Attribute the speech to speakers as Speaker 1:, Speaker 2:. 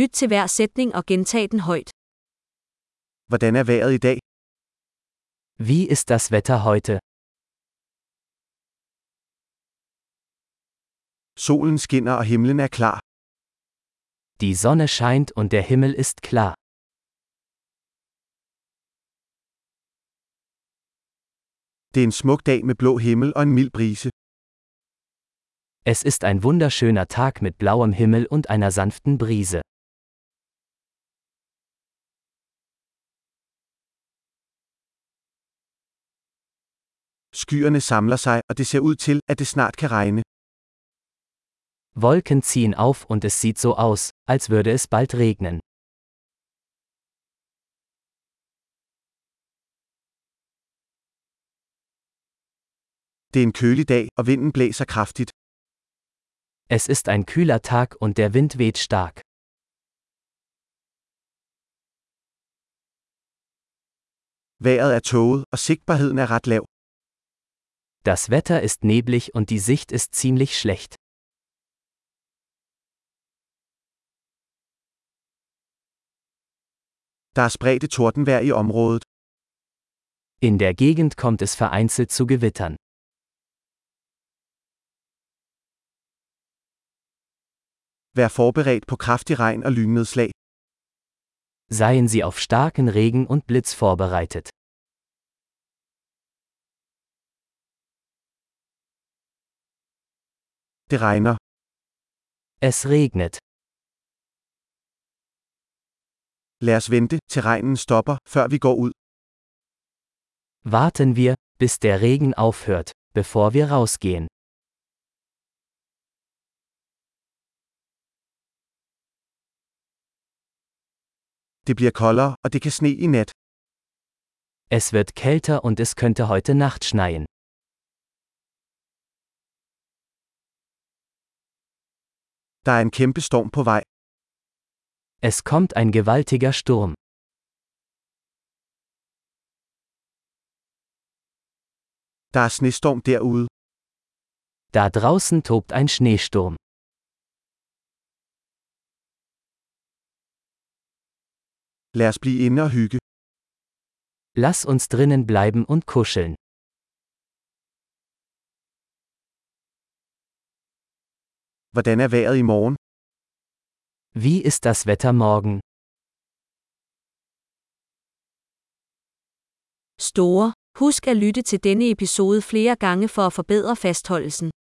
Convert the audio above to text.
Speaker 1: Lyt til hver sætning og gentag den højt.
Speaker 2: Hvordan er vejret i dag?
Speaker 3: Wie ist das Wetter heute?
Speaker 2: Solen skinner og himlen er klar.
Speaker 3: Die Sonne scheint und der Himmel ist klar.
Speaker 2: Det er en smuk dag med blå himmel og en mild brise.
Speaker 3: Es ist ein wunderschöner Tag mit blauem Himmel und einer sanften Brise.
Speaker 2: Skyerne samler sig, og det ser ud til, at det snart kan regne.
Speaker 3: Wolken ziehen auf und es sieht so aus, als würde es bald regnen.
Speaker 2: Det er en kølig dag, og vinden blæser kraftigt.
Speaker 3: Es ist ein kühler Tag und der Wind weht stark.
Speaker 2: Vejret er tåget, og sigtbarheden er ret lav.
Speaker 3: Das Wetter ist neblig und die Sicht ist ziemlich schlecht.
Speaker 2: Der er spredte tordenvejr i området.
Speaker 3: In der Gegend kommt es vereinzelt zu Gewittern.
Speaker 2: Vær forberedt på kraftig regn og lynnedslag.
Speaker 3: Seien Sie auf starken Regen und Blitz vorbereitet.
Speaker 2: Det regner.
Speaker 3: Es regnet.
Speaker 2: Lad os vente, til regnen stopper, før vi går ud.
Speaker 3: Warten wir, bis der Regen aufhört, bevor wir rausgehen.
Speaker 2: Det bliver koldere, og det kan sne i nat.
Speaker 3: Es wird kälter und es könnte heute Nacht schneien.
Speaker 2: Der er en kæmpe storm på vej.
Speaker 3: Es kommt ein gewaltiger Sturm.
Speaker 2: Der er snestorm derude.
Speaker 3: Da draußen tobt ein Schneesturm.
Speaker 2: Lad os blive inde og hygge.
Speaker 3: Lass uns drinnen bleiben und kuscheln.
Speaker 2: Hvordan er vejret i morgen?
Speaker 3: Wie ist das Wetter morgen?
Speaker 1: Store. Husk at lytte til denne episode flere gange for at forbedre fastholdelsen.